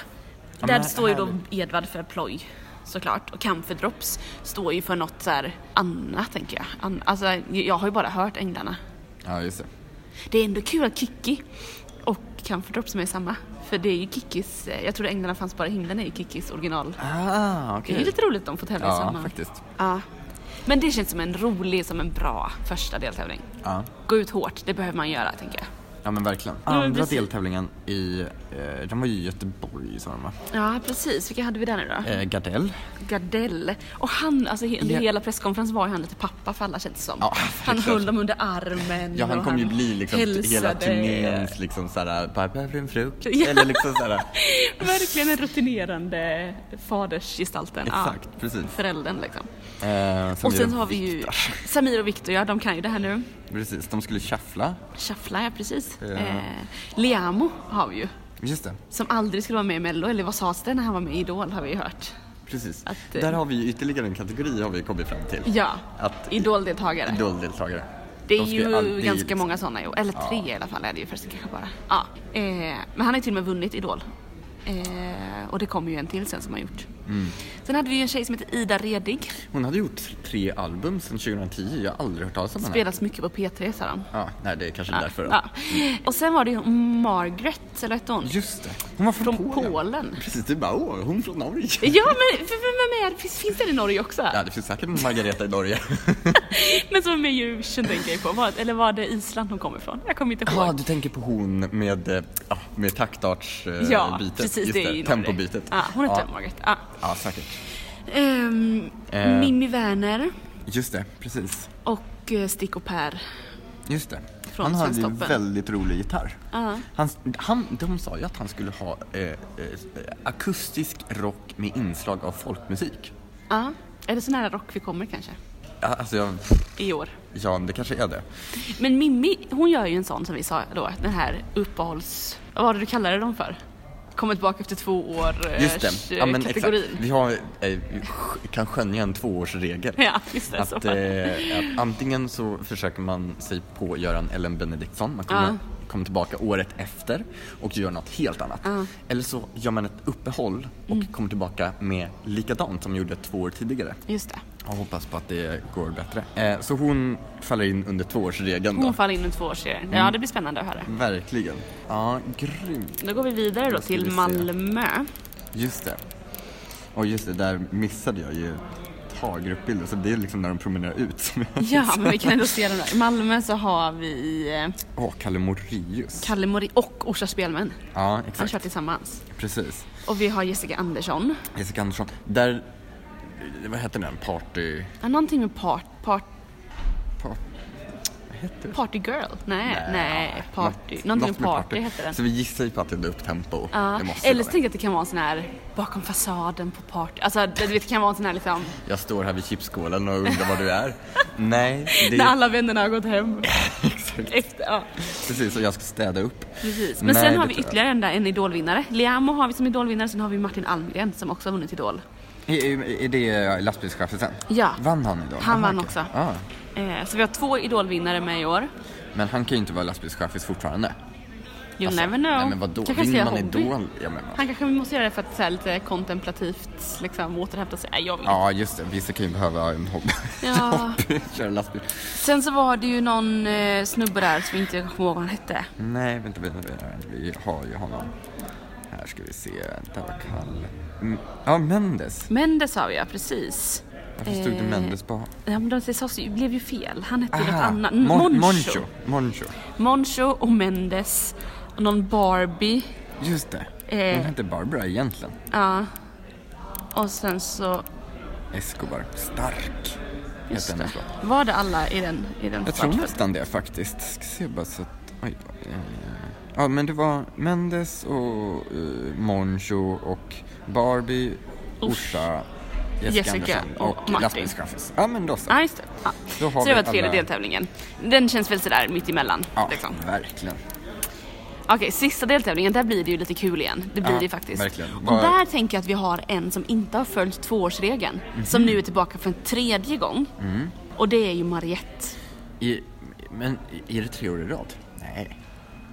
Speaker 2: Ja,
Speaker 1: Där
Speaker 2: men
Speaker 1: står ju då
Speaker 2: härligt.
Speaker 1: Edvard för ploj såklart och Camphor Drops står ju för något så här annat tänker jag. An- alltså jag har ju bara hört Änglarna.
Speaker 2: Ja, just det.
Speaker 1: Det är ändå kul att Kikki och Camphor Drops som är samma. För det är ju Kikkis, eh, jag tror Änglarna fanns bara i himlen är ju Kikkis original.
Speaker 2: Ah,
Speaker 1: Det
Speaker 2: okej.
Speaker 1: är ju lite roligt att de får tävla i
Speaker 2: Ja,
Speaker 1: samma.
Speaker 2: faktiskt.
Speaker 1: Ja. Men det känns som en rolig, som en bra första deltävling.
Speaker 2: Ja.
Speaker 1: Gå ut hårt, det behöver man göra tänker jag.
Speaker 2: Ja men verkligen.
Speaker 1: men
Speaker 2: Andra
Speaker 1: precis.
Speaker 2: deltävlingen i, eh, den var ju i Göteborg sa de va?
Speaker 1: Ja precis, vilka hade vi där nu då?
Speaker 2: Eh, Gardell.
Speaker 1: Gardell. Och han, alltså he- under
Speaker 2: Ja.
Speaker 1: hela presskonferensen var ju han lite pappa för alla känns det som.
Speaker 2: Ja,
Speaker 1: han
Speaker 2: klart.
Speaker 1: höll dem under armen.
Speaker 2: Ja han
Speaker 1: och
Speaker 2: kommer ju bli liksom
Speaker 1: hälsade.
Speaker 2: hela turnéns liksom såhär, bara behöver en frukt?
Speaker 1: Ja.
Speaker 2: Eller liksom såhär.
Speaker 1: Verkligen en rutinerande fadersgestalten.
Speaker 2: Exakt,
Speaker 1: Ja.
Speaker 2: precis.
Speaker 1: Föräldern liksom.
Speaker 2: Eh,
Speaker 1: Och sen så har vi ju Samir och Viktor, ja de kan ju det här nu.
Speaker 2: Precis, de skulle shuffla.
Speaker 1: Shuffla, ja precis.
Speaker 2: Ja.
Speaker 1: Eh, Liamo har vi ju.
Speaker 2: Just det,
Speaker 1: Som aldrig skulle vara med i Mello, eller vad sades det när han var med i Idol har vi ju hört.
Speaker 2: precis.
Speaker 1: Att, eh,
Speaker 2: Där har vi ju ytterligare en kategori har vi kommit fram till.
Speaker 1: Ja,
Speaker 2: Att-
Speaker 1: Idol-deltagare.
Speaker 2: Idoldeltagare.
Speaker 1: Det är
Speaker 2: De ska liksom-
Speaker 1: ju
Speaker 2: aldrig-
Speaker 1: ganska många sådana, jo. eller tre i alla fall är det ju förresten kanske bara. Ja. Eh, men han har ju till och med vunnit Idol. Eh, och det kommer ju en till sen som har gjort.
Speaker 2: Mm.
Speaker 1: Sen hade vi ju en tjej som heter Ida Redig.
Speaker 2: Hon hade gjort tre album sedan 2010, jag har aldrig hört talas om henne.
Speaker 1: Spelats mycket på P3 sa de.
Speaker 2: Ja, nej det är kanske därför då.
Speaker 1: Ja. Och sen var det ju Margaret, eller hette hon?
Speaker 2: Just det, hon var från,
Speaker 1: Från Polen.
Speaker 2: Precis, du bara åh, hon från Norge.
Speaker 1: Ja men för, för, vem är, finns, finns det i Norge också?
Speaker 2: Ja, det finns säkert en Margareta i Norge.
Speaker 1: Men som är med i Eurovision tänker jag på. Var, eller var det Island hon kom ifrån? Jag kommer inte ihåg.
Speaker 2: Ja, du tänker på hon med, eh, ja, med eh, taktartsbytet.
Speaker 1: ja, precis. Det är ju Norge.
Speaker 2: Tempobytet.
Speaker 1: Ja, hon heter
Speaker 2: ja.
Speaker 1: Margaret. Ja.
Speaker 2: ja, säkert.
Speaker 1: Ehm,
Speaker 2: Eh.
Speaker 1: Mimmi Werner
Speaker 2: Just det, precis.
Speaker 1: och eh, Stick och Per.
Speaker 2: Just det.
Speaker 1: Från
Speaker 2: han hade ju
Speaker 1: Svensktoppen.
Speaker 2: väldigt rolig gitarr.
Speaker 1: Ja.
Speaker 2: Han, han, de sa ju att han skulle ha eh, eh, akustisk rock med inslag av folkmusik.
Speaker 1: Ja. Är det så nära rock vi kommer kanske?
Speaker 2: Ja, Alltså, jag,
Speaker 1: I år.
Speaker 2: ja, det kanske är det.
Speaker 1: Men Mimmi, hon gör ju en sån som vi sa då, den här uppehålls... Vad var det du kallade dem för? Kommer tillbaka efter två år eh,
Speaker 2: Just det. Ja, men exakt.
Speaker 1: kategorin.
Speaker 2: Vi har, eh, sk- kan skönja en tvåårsregel.
Speaker 1: Ja, visst är det så.
Speaker 2: att, eh, att antingen så försöker man sig på att göra en Ellen Benediktsson, man kommer,
Speaker 1: Ja.
Speaker 2: kommer tillbaka året efter och gör något helt annat.
Speaker 1: Ja. Mm.
Speaker 2: Eller så gör man ett uppehåll och kommer tillbaka med likadant som man gjorde två år tidigare.
Speaker 1: Just det.
Speaker 2: Jag hoppas på att det går bättre. Eh, så hon faller in under tvåårsregeln då?
Speaker 1: Hon faller in i två år sedan.
Speaker 2: Mm.
Speaker 1: Ja, det blir spännande att höra.
Speaker 2: Verkligen. Ja, grymt.
Speaker 1: Då går vi vidare då
Speaker 2: Då ska vi
Speaker 1: till
Speaker 2: se.
Speaker 1: Malmö.
Speaker 2: Just det. Och just det, där missade jag ju ta gruppbilder så det är liksom när de promenerar ut som jag
Speaker 1: Ja, men vi kan ändå se den där. I Malmö så har vi eh,
Speaker 2: Åh, Kalle Moraeus.
Speaker 1: Kalle Mori och Orsa Spelmän.
Speaker 2: ja,
Speaker 1: De
Speaker 2: exakt.
Speaker 1: kör tillsammans.
Speaker 2: Precis.
Speaker 1: Och vi har Jessica Andersson.
Speaker 2: Jessica Andersson. Där, eh, vad hette den? Party...
Speaker 1: Ja, Ah, Någonting med part, part,
Speaker 2: Part, vad hette det?
Speaker 1: Party Girl? Nej, nej, party.
Speaker 2: Något-
Speaker 1: Någonting
Speaker 2: något
Speaker 1: med party, hette den.
Speaker 2: Så vi gissar ju på att det är upptempo.
Speaker 1: Ja.
Speaker 2: Det måste
Speaker 1: Eller så
Speaker 2: vara
Speaker 1: tänker jag att det kan vara en sån här bakom fasaden på party. Alltså det, du vet, det kan vara en sån här liksom
Speaker 2: det. Jag står här vid chipskålen och undrar var du är. Nej, det
Speaker 1: när alla vännerna har gått hem.
Speaker 2: Exakt.
Speaker 1: Efter, ja,
Speaker 2: Precis, och jag ska städa upp.
Speaker 1: precis. Men
Speaker 2: Nej,
Speaker 1: sen har
Speaker 2: det
Speaker 1: vi
Speaker 2: tror jag.
Speaker 1: ytterligare en, där, en idolvinnare. Liamo har vi som idolvinnare, sen har vi Martin Almgren som också har vunnit idol.
Speaker 2: Är, är- är det lastbilschauffören? sen?
Speaker 1: Ja.
Speaker 2: Vann han idag?
Speaker 1: Han
Speaker 2: Aha,
Speaker 1: vann
Speaker 2: okej.
Speaker 1: också.
Speaker 2: Ja.
Speaker 1: Eh, så vi har två idolvinnare med i år.
Speaker 2: Men han kan ju inte vara lastbilschaffis fortfarande.
Speaker 1: You
Speaker 2: Alltså,
Speaker 1: never know.
Speaker 2: Nej men vadå,
Speaker 1: Kanske ska
Speaker 2: vinner
Speaker 1: göra
Speaker 2: man
Speaker 1: hobby.
Speaker 2: Idol? Ja, men,
Speaker 1: Han kanske måste göra det för att så här, lite kontemplativt liksom, återhämta sig. Nej, jag vet.
Speaker 2: ja just det, vissa kan ju behöva en hobby.
Speaker 1: Ja.
Speaker 2: Köra lastbil.
Speaker 1: Sen så var det ju någon eh, snubbe där som vi inte kommer ihåg vad han hette.
Speaker 2: Nej, vänta, vänta, vänta. Vi har ju honom. Här ska vi se. Vänta, vad kall. Mm, ja, Mendes.
Speaker 1: Mendes sa vi ja, precis.
Speaker 2: Varför stod det
Speaker 1: Eh,
Speaker 2: Mendes på?
Speaker 1: Ja, men de det sades ju- blev ju fel. Han hette ju något
Speaker 2: Aha,
Speaker 1: annat.
Speaker 2: Mon-
Speaker 1: Moncho.
Speaker 2: Moncho.
Speaker 1: Moncho och Mendes. Och någon Barbie.
Speaker 2: Just det.
Speaker 1: Eh.
Speaker 2: Hon hette Barbara egentligen.
Speaker 1: Ja. Och sen så...
Speaker 2: Escobar. Stark.
Speaker 1: Just
Speaker 2: Hette
Speaker 1: det.
Speaker 2: hennes låt.
Speaker 1: Var det alla i den, i den
Speaker 2: Jag tror
Speaker 1: startfältet?
Speaker 2: nästan det faktiskt. Ska se bara så att... Oj, eh, ja, men det var Mendes och eh, Moncho och Barbie, Orsa, Jessica,
Speaker 1: Jessica
Speaker 2: Andersson
Speaker 1: och
Speaker 2: och,
Speaker 1: Martin.
Speaker 2: lastbilschaffis. Ja, men då så.
Speaker 1: Ja, just det. Ja.
Speaker 2: Då har
Speaker 1: Så det
Speaker 2: vi
Speaker 1: var tredje
Speaker 2: alla-
Speaker 1: deltävlingen. Den känns väl sådär mittemellan.
Speaker 2: Ja,
Speaker 1: Liksom.
Speaker 2: verkligen.
Speaker 1: Okej, sista deltävlingen, där blir det ju lite kul igen. Det blir
Speaker 2: Ja,
Speaker 1: det faktiskt.
Speaker 2: verkligen.
Speaker 1: Och
Speaker 2: Bara-
Speaker 1: där tänker jag att vi har en som inte har följt tvåårsregeln.
Speaker 2: Mhm.
Speaker 1: Som nu är tillbaka för en tredje gång.
Speaker 2: Mm.
Speaker 1: Och det är ju Mariette.
Speaker 2: I, men är det tre år i rad? Nej.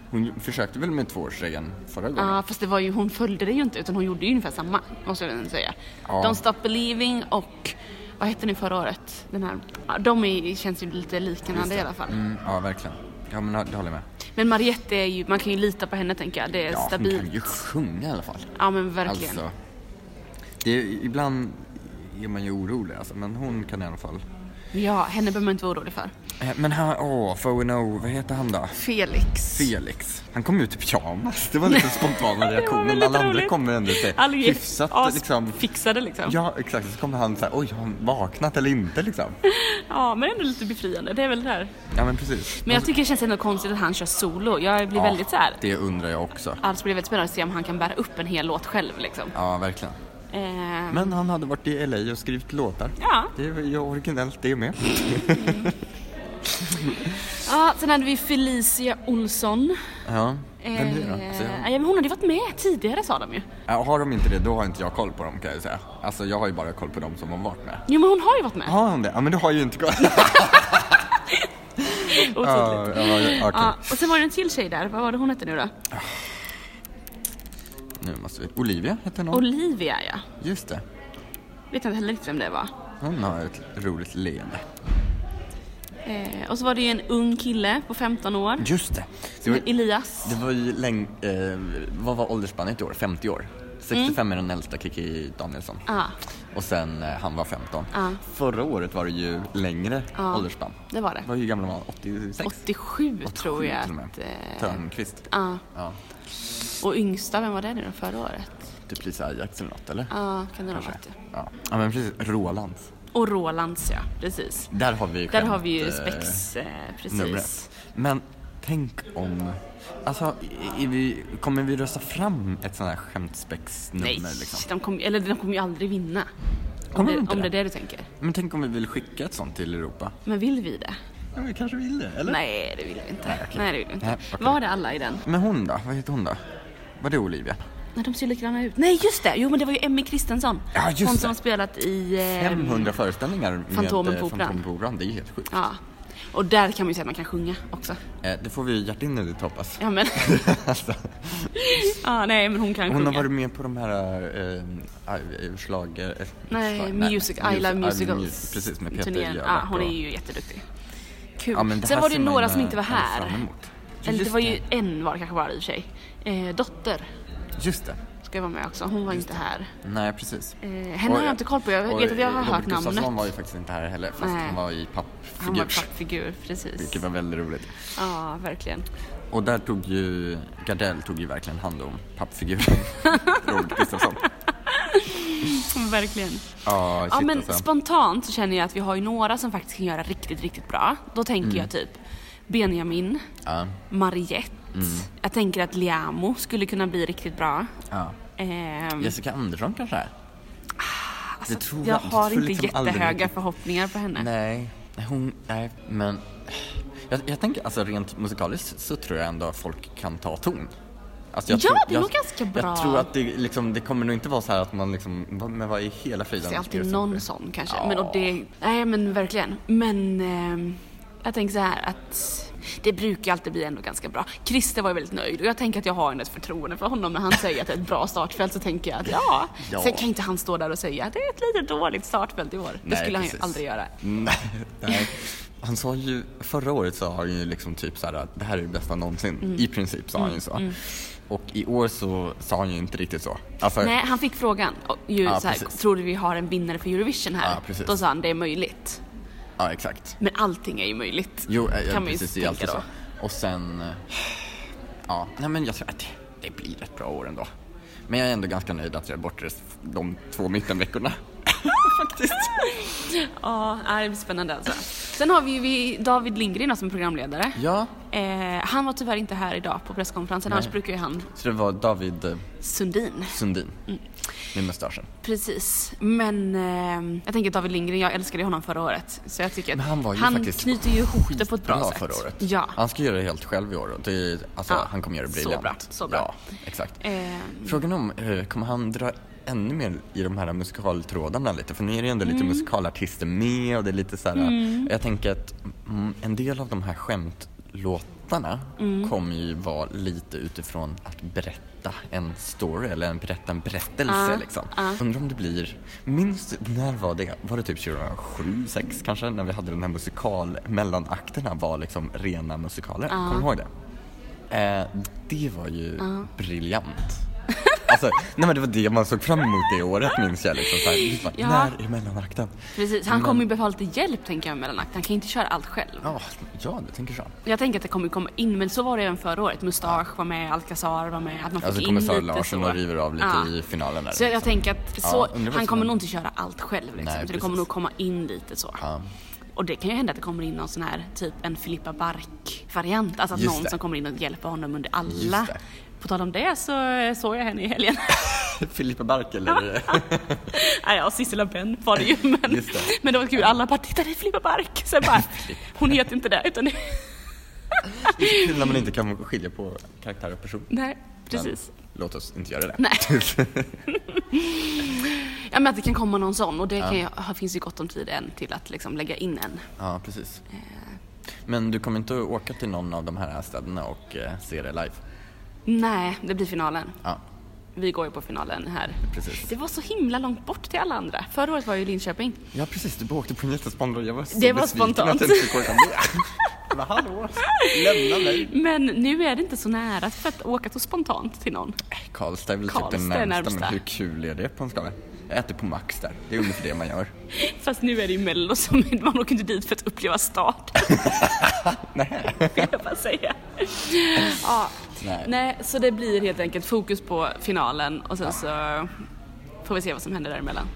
Speaker 2: Hon försökte väl med tvåårsregeln förra gången?
Speaker 1: Ja, fast det var ju, hon följde det ju inte utan hon gjorde ju ungefär samma. Måste jag väl säga.
Speaker 2: Ja.
Speaker 1: Don't Stop Believing och vad hette nu förra året? Den här, ja, de är, känns ju lite
Speaker 2: Just
Speaker 1: liknande
Speaker 2: det.
Speaker 1: i alla fall.
Speaker 2: Mm, ja, verkligen. Ja, men det håller jag med.
Speaker 1: Men Mariette är ju, man kan ju lita på henne tänker jag. Det är
Speaker 2: Ja, hon kan
Speaker 1: stabilt.
Speaker 2: ju sjunga i alla fall.
Speaker 1: Ja men verkligen.
Speaker 2: Alltså, det är, ibland är man ju orolig alltså, men hon kan i alla fall
Speaker 1: Ja, henne behöver man inte vara orolig för.
Speaker 2: Eh, Men han, åh, Fono, vad heter han då?
Speaker 1: Felix.
Speaker 2: Felix. Han kom ut i pyjamas. Det var lite spontana
Speaker 1: Det var
Speaker 2: reaktionen.
Speaker 1: väldigt
Speaker 2: Alla andra
Speaker 1: roligt.
Speaker 2: kommer ändå sig
Speaker 1: Alla är
Speaker 2: hyfsat
Speaker 1: as-
Speaker 2: liksom.
Speaker 1: fixade liksom. Ja.
Speaker 2: Ja, exakt. Så kommer han så här, oj, har han vaknat eller inte liksom?
Speaker 1: men ändå lite befriande. Det är väl det där.
Speaker 2: Ja, men precis.
Speaker 1: Men jag tycker det känns ändå konstigt att han kör solo. Jag blir
Speaker 2: Ja,
Speaker 1: väldigt så här.
Speaker 2: Det undrar jag också.
Speaker 1: Alltså blir det väldigt spännande att se om han kan bära upp en hel låt själv liksom.
Speaker 2: Ja, verkligen.
Speaker 1: Eh,
Speaker 2: Men han hade varit i LA och skrivit låtar.
Speaker 1: Ja.
Speaker 2: Det är ju originellt det med.
Speaker 1: ja, sen hade vi Felicia Olsson.
Speaker 2: Ja,
Speaker 1: Eh,
Speaker 2: vem det då? Så
Speaker 1: ja,
Speaker 2: jag-
Speaker 1: men hon hade ju varit med tidigare sa de ju.
Speaker 2: Ja, Har de inte det, då har inte jag koll på dem kan jag ju säga. Alltså, jag har ju bara koll på dem som har varit med.
Speaker 1: Jo men hon har ju varit med.
Speaker 2: Har hon det? Ja, men du har ju inte koll.
Speaker 1: Otydligt.
Speaker 2: ja, ja, okej.
Speaker 1: Ja, och sen var det en till tjej där, vad var det hon hette nu då?
Speaker 2: Nu måste vi... Olivia heter någon.
Speaker 1: Olivia ja.
Speaker 2: Just det.
Speaker 1: Vet inte heller riktigt vem det var.
Speaker 2: Hon har ett roligt leende.
Speaker 1: Eh, och så var det ju en ung kille på 15 år.
Speaker 2: Just det. Det
Speaker 1: Som
Speaker 2: var,
Speaker 1: heter Elias.
Speaker 2: det var ju länge... Eh, vad var åldersspannet i år? 50 år? 65 är den äldsta Kiki Danielsson.
Speaker 1: Ja,
Speaker 2: Och sen eh, han var 15.
Speaker 1: Ja.
Speaker 2: Förra året var det ju längre
Speaker 1: Ja.
Speaker 2: åldersspann.
Speaker 1: det var det.
Speaker 2: Vad hur gammal var han? 86?
Speaker 1: 87, tror
Speaker 2: 87
Speaker 1: jag
Speaker 2: till och med.
Speaker 1: att... Eh,
Speaker 2: Törnqvist.
Speaker 1: ja.
Speaker 2: Ja.
Speaker 1: Och yngsta, vem var det nu då förra året?
Speaker 2: Typ Lisa Ajax eller något eller?
Speaker 1: Ja, kan det ha varit
Speaker 2: Kanske.
Speaker 1: det.
Speaker 2: Ja. ja men precis, Rolands.
Speaker 1: Och Rolands ja, precis.
Speaker 2: Där har vi ju
Speaker 1: Där
Speaker 2: skämt,
Speaker 1: har vi ju
Speaker 2: eh,
Speaker 1: spex, eh, precis.
Speaker 2: numret. Men tänk om... Alltså, i- i- vi, kommer vi rösta fram ett sånt här skämtspexnummer
Speaker 1: Nej,
Speaker 2: liksom?
Speaker 1: de kommer eller de kommer ju aldrig vinna. Om,
Speaker 2: Kommer
Speaker 1: det,
Speaker 2: de inte
Speaker 1: om det är
Speaker 2: det?
Speaker 1: det du tänker.
Speaker 2: Men tänk om vi vill skicka ett sånt till Europa?
Speaker 1: Men vill vi det?
Speaker 2: Ja, vi kanske vill det, eller?
Speaker 1: Nej, det vill vi inte. Nej, det vill vi inte.
Speaker 2: Nej, okej.
Speaker 1: Var det alla i den?
Speaker 2: Men hon då? Vad heter hon då? Var det Olivia?
Speaker 1: Nej, de ser ju likadana ut. Nej, just det! Jo, men det var ju Emmy Kristensson.
Speaker 2: Ja, just
Speaker 1: Hon
Speaker 2: det.
Speaker 1: som har spelat i... eh,
Speaker 2: 500 föreställningar med
Speaker 1: Fantomen
Speaker 2: eh,
Speaker 1: på Operan.
Speaker 2: Fantomen på Operan. Det är ju helt sjukt.
Speaker 1: Ja. Och där kan man ju säga att man kan sjunga också.
Speaker 2: Eh, det får vi hjärtinnerligt hoppas.
Speaker 1: Ja, men...
Speaker 2: alltså,
Speaker 1: ja, nej, men hon kan
Speaker 2: hon
Speaker 1: sjunga.
Speaker 2: har varit med på de här äh, slager... eh,
Speaker 1: Nej,
Speaker 2: schlag-
Speaker 1: music, I love musicals.
Speaker 2: mu- Precis, med Peter
Speaker 1: turnén.
Speaker 2: Jöback
Speaker 1: Ja, hon är
Speaker 2: och-
Speaker 1: ju jätteduktig. Kul.
Speaker 2: Ja, men
Speaker 1: Sen
Speaker 2: här
Speaker 1: var det
Speaker 2: ser
Speaker 1: ju
Speaker 2: man
Speaker 1: några
Speaker 2: ju,
Speaker 1: som inte var
Speaker 2: eh,
Speaker 1: här.
Speaker 2: fram emot.
Speaker 1: Eller det
Speaker 2: Just
Speaker 1: var ju en var det kanske bara i och för sig. Eh, dotter
Speaker 2: Just det.
Speaker 1: ska vara med också. Hon var inte här.
Speaker 2: Nej, precis.
Speaker 1: Eh, henne har jag inte koll på. Jag
Speaker 2: och
Speaker 1: vet att jag har
Speaker 2: Robert
Speaker 1: hört
Speaker 2: Gustafsson
Speaker 1: namnet.
Speaker 2: var ju faktiskt inte här heller, fast
Speaker 1: Nej.
Speaker 2: han var i
Speaker 1: Han var
Speaker 2: pappfigur.
Speaker 1: pappfigur, precis.
Speaker 2: Vilket var väldigt roligt.
Speaker 1: Ja, verkligen.
Speaker 2: Och där tog ju Gardell tog ju verkligen hand om pappfiguren Robert Gustafsson.
Speaker 1: Verkligen.
Speaker 2: Ja,
Speaker 1: Ja
Speaker 2: Mm, shit,
Speaker 1: men
Speaker 2: alltså.
Speaker 1: spontant så känner jag att vi har ju några som faktiskt kan göra riktigt, riktigt bra. Då tänker
Speaker 2: Mm.
Speaker 1: jag typ Benjamin,
Speaker 2: Ja,
Speaker 1: Mariette.
Speaker 2: Mm.
Speaker 1: Jag tänker att Liamo skulle kunna bli riktigt bra.
Speaker 2: ja.
Speaker 1: Ehm,
Speaker 2: Jessica Andersson kanske är? det tror
Speaker 1: Ah, alltså, jag
Speaker 2: det
Speaker 1: har
Speaker 2: tror
Speaker 1: inte
Speaker 2: liksom aldrig
Speaker 1: jättehöga
Speaker 2: riktigt-
Speaker 1: förhoppningar på henne.
Speaker 2: Nej, nej, hon, nej, men jag, jag tänker alltså rent musikaliskt så tror jag ändå att folk kan ta ton. Alltså,
Speaker 1: Ja, det är nog ganska bra.
Speaker 2: Jag tror att det, liksom, det kommer nog inte vara så här att man liksom, vad- men vad i hela friden?
Speaker 1: Det är alltid någon sån kanske.
Speaker 2: Ja.
Speaker 1: Men, och det, nej men verkligen. Men ehm, jag tänker så här att det brukar alltid bli ändå ganska bra. Christer var ju väldigt nöjd och jag tänker att jag har ändå ett förtroende för honom när han säger att det är ett bra startfält så tänker jag att ja.
Speaker 2: Ja.
Speaker 1: Sen kan inte han stå där och säga att det är ett lite dåligt startfält i år. det
Speaker 2: Nej,
Speaker 1: skulle han
Speaker 2: precis.
Speaker 1: ju aldrig göra.
Speaker 2: Nej, nej. Han sa ju, förra året sa han ju liksom typ så här att det här är det bästa någonsin.
Speaker 1: Mm.
Speaker 2: I princip sa han ju så. Och i år så sa han ju inte riktigt så. Alltså,
Speaker 1: Nej, han fick frågan. och Ju,
Speaker 2: Ja,
Speaker 1: så här,
Speaker 2: precis.
Speaker 1: tror du vi har en vinnare för Eurovision här?
Speaker 2: Ja, precis.
Speaker 1: Då sa han det är möjligt.
Speaker 2: ja exakt.
Speaker 1: Men allting är ju möjligt.
Speaker 2: Jo, eh,
Speaker 1: Kan man ju
Speaker 2: precis, det är
Speaker 1: tänka
Speaker 2: alltid
Speaker 1: då.
Speaker 2: så. Och sen, eh, ja, nej men jag tror att det, det blir ett bra år ändå. Men jag är ändå ganska nöjd att jag är borta de två mittenveckorna. Faktiskt.
Speaker 1: Ja, nej, det blir spännande alltså. Sen har vi ju vi- David Lindgren som programledare.
Speaker 2: Ja,
Speaker 1: Eh, han var tyvärr inte här idag på presskonferensen, annars brukar ju han
Speaker 2: så det var David eh,
Speaker 1: Sundin.
Speaker 2: Sundin
Speaker 1: Mm.
Speaker 2: med mustaschen.
Speaker 1: Precis. Men eh, jag tänker David Lindgren, jag älskade ju honom förra året. Så jag tycker att
Speaker 2: Men han var ju faktiskt
Speaker 1: knyter ju ihop det på ett bra
Speaker 2: Bra
Speaker 1: sätt.
Speaker 2: förra året.
Speaker 1: Ja.
Speaker 2: Han ska göra det helt själv i år. och Det, alltså,
Speaker 1: Ja,
Speaker 2: han kommer göra det
Speaker 1: så
Speaker 2: briljant.
Speaker 1: bra, så bra.
Speaker 2: Ja, exakt.
Speaker 1: Eh,
Speaker 2: Frågan om, eh, kommer han dra ännu mer i de här musikaltrådarna lite? För nu är det ju ändå
Speaker 1: Mm.
Speaker 2: lite musikalartister med och det är lite så här. eh, Jag tänker att mm, en del av de här skämtlåtarna
Speaker 1: Mm.
Speaker 2: kommer ju vara lite utifrån att berätta en story eller en, berätta en berättelse
Speaker 1: Ah,
Speaker 2: liksom.
Speaker 1: ah.
Speaker 2: Undrar om det blir, minns du- när var det? Var det typ 2007, 6 kanske? När vi hade den här musikal, mellanakterna var liksom rena
Speaker 1: Ah.
Speaker 2: musikaler. Kommer du ihåg det? Eh, det var ju briljant. Alltså, nej men det var det man såg fram emot det året minns jag liksom. Så här, just bara,
Speaker 1: Ja.
Speaker 2: När är mellanakten?
Speaker 1: Precis, han kommer ju behöva lite hjälp tänker jag mellanakt. Han kan ju inte köra allt själv.
Speaker 2: Ja, ja, du tänker så.
Speaker 1: Jag tänker att det kommer komma in, men så var det även förra året. Mustasch var med, Alcazar var med. Att man fick
Speaker 2: Alltså
Speaker 1: in
Speaker 2: kommer Sara
Speaker 1: lite
Speaker 2: Larsson
Speaker 1: så.
Speaker 2: och river av lite
Speaker 1: Ja.
Speaker 2: i finalen där.
Speaker 1: Så jag, jag
Speaker 2: liksom.
Speaker 1: tänker att så,
Speaker 2: undrar vad som
Speaker 1: han kommer
Speaker 2: händer.
Speaker 1: nog inte köra allt själv liksom,
Speaker 2: Nej,
Speaker 1: så det
Speaker 2: precis.
Speaker 1: kommer nog komma in lite så.
Speaker 2: Ja.
Speaker 1: Och det kan ju hända att det kommer in någon sån här, typ en Filippa Bark-variant. Alltså att
Speaker 2: Just
Speaker 1: någon
Speaker 2: det.
Speaker 1: som kommer in och hjälper honom under alla.
Speaker 2: Just det.
Speaker 1: På tal om det så eh, såg jag henne i helgen.
Speaker 2: Filippa Bark eller?
Speaker 1: Nej, ja, Sissela Benn var det ju. Men
Speaker 2: Just det.
Speaker 1: men det var kul, alla bara “titta det är Filippa Bark”. Sen bara, hon heter inte det utan det-
Speaker 2: det är så kul när man inte kan skilja på karaktär och person.
Speaker 1: Nej, precis.
Speaker 2: Men Låt oss inte göra det.
Speaker 1: Ja men att det kan komma någon sån och det kan ju, har- finns ju gott om tid än till att liksom lägga in en.
Speaker 2: Ja, precis.
Speaker 1: Eh.
Speaker 2: Men du kommer inte åka till någon av de här städerna och eh, se det live?
Speaker 1: Nej, det blir finalen.
Speaker 2: Ja,
Speaker 1: Vi går ju på finalen här.
Speaker 2: precis.
Speaker 1: Det var så himla långt bort till alla andra. Förra året var ju Linköping.
Speaker 2: Ja, precis. Du bara åkte på en jättespontan... Jag var så
Speaker 1: Det var
Speaker 2: besviken
Speaker 1: spontant.
Speaker 2: att jag inte fick åka med. Jag bara, hallå, lämna mig.
Speaker 1: Men nu är det inte så nära för att åka så spontant till någon.
Speaker 2: Karlstad är väl
Speaker 1: Karlstad
Speaker 2: typ
Speaker 1: är
Speaker 2: det närmsta,
Speaker 1: närmsta.
Speaker 2: men hur kul är det på en skala? Jag äter på Max där. Det är ungefär det man gör.
Speaker 1: Fast nu är det ju mello som man åker inte dit för att uppleva start. Nej. Vill jag bara säga. Ja.
Speaker 2: Nej.
Speaker 1: Nej, så det blir helt enkelt fokus på finalen och sen så får vi se vad som händer däremellan.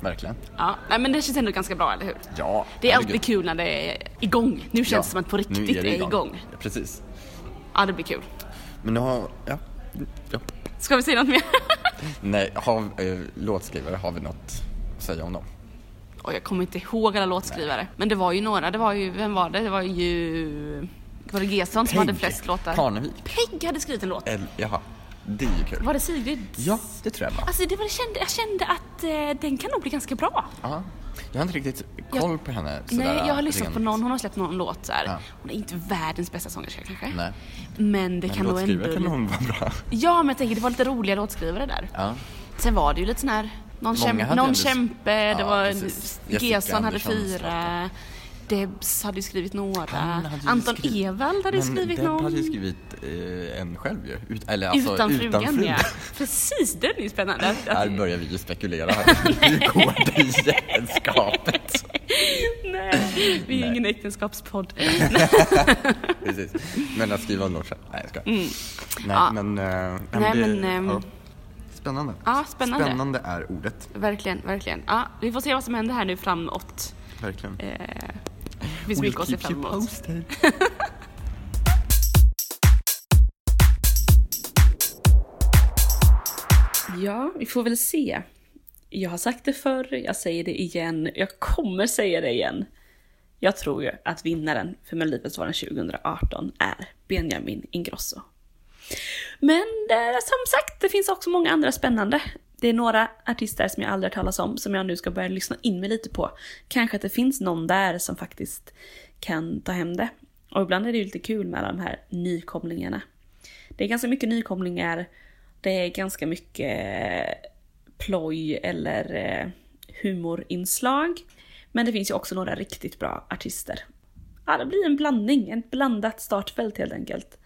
Speaker 2: Verkligen.
Speaker 1: Ja, nej, men det känns ändå ganska bra, eller hur?
Speaker 2: Ja,
Speaker 1: Det är
Speaker 2: herregud.
Speaker 1: alltid kul när det är igång. Nu känns
Speaker 2: Ja,
Speaker 1: det som att på
Speaker 2: nu
Speaker 1: riktigt är, igång.
Speaker 2: Ja, precis.
Speaker 1: Ja, det blir kul.
Speaker 2: Men nu har... Ja. ja.
Speaker 1: Ska vi säga något mer?
Speaker 2: Nej, har, eh, låtskrivare, har vi något att säga om dem?
Speaker 1: Och jag kommer inte ihåg alla låtskrivare. Men det var ju några. Det var ju, vem var det? Det var ju... Var det Gesson som hade flest låtar?
Speaker 2: Parnevik.
Speaker 1: Peg hade skrivit en låt.
Speaker 2: Eller, jaha, det är ju kul.
Speaker 1: Var det Sigrid?
Speaker 2: Eh. Ja, det tror jag det var.
Speaker 1: Alltså det var, jag, kände, jag kände att eh, den kan nog bli ganska bra.
Speaker 2: Ja. Jag har inte riktigt koll på henne. sådär liksom.
Speaker 1: Nej, jag har lyssnat
Speaker 2: rent.
Speaker 1: på någon, hon har släppt någon låt så här.
Speaker 2: Ja.
Speaker 1: Hon är inte världens bästa sångerska kanske.
Speaker 2: Nej.
Speaker 1: Men det kan
Speaker 2: Men
Speaker 1: nog ändå...
Speaker 2: låtskrivare kan hon vara bra.
Speaker 1: Ja, men jag tänker det var lite roliga låtskrivare där.
Speaker 2: Ja.
Speaker 1: Sen var det ju lite sån här, någon,
Speaker 2: Många
Speaker 1: käm,
Speaker 2: hade
Speaker 1: någon
Speaker 2: ändå-
Speaker 1: kämpe, det
Speaker 2: Ja,
Speaker 1: var
Speaker 2: precis. Jessica
Speaker 1: Gesson hade
Speaker 2: Andersson
Speaker 1: fyra, Debs hade ju skrivit några,
Speaker 2: Han hade ju
Speaker 1: Anton
Speaker 2: skrivit-
Speaker 1: Ewald hade ju
Speaker 2: Men
Speaker 1: skrivit
Speaker 2: Deb
Speaker 1: någon.
Speaker 2: hade ju skrivit eh, en själv ju. Ut, eller alltså,
Speaker 1: utan frugan ja. Precis, den är ju spännande. Att- att-
Speaker 2: Här börjar vi ju spekulera. Hur går det i äktenskapet?
Speaker 1: Nej, vi är
Speaker 2: Nej.
Speaker 1: ingen äktenskapspodd.
Speaker 2: Precis. Men att skriva en låt själv. Nej, jag skojar. Nej,
Speaker 1: Mm. Ja.
Speaker 2: men... eh,
Speaker 1: Nej,
Speaker 2: det-
Speaker 1: men, ehm,
Speaker 2: ja. Spännande.
Speaker 1: Ja, spännande.
Speaker 2: Spännande är ordet.
Speaker 1: Verkligen, verkligen. Ja, vi får se vad som händer här nu framåt.
Speaker 2: Verkligen.
Speaker 1: Det Eh, finns mycket att se fram emot.
Speaker 2: posted.
Speaker 1: Ja, vi får väl se. Jag har sagt det förr, jag säger det igen, jag kommer säga det igen. Jag tror ju att vinnaren för Melodifestivalen 2018 är Benjamin Ingrosso. Men det är, som sagt, det finns också många andra spännande. Det är några artister som jag aldrig har talas om som jag nu ska börja lyssna in mig lite på. Kanske att det finns någon där som faktiskt kan ta hem det. Och ibland är det ju lite kul med alla de här nykomlingarna. Det är ganska mycket nykomlingar. Det är ganska mycket eh, ploj eller eh, humorinslag. Men det finns ju också några riktigt bra artister. Ja, det blir en blandning, ett blandat startfält helt enkelt.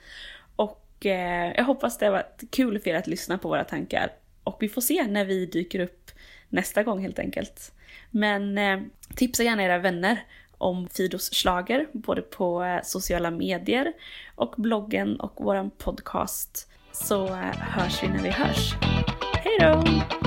Speaker 1: Och eh, jag hoppas det var kul för er att lyssna på våra tankar. Och vi får se när vi dyker upp nästa gång helt enkelt. Men eh, tipsa gärna era vänner om Fidos slager både på eh, sociala medier och bloggen och våran podcast. Så eh, hörs vi när vi hörs. Hej då!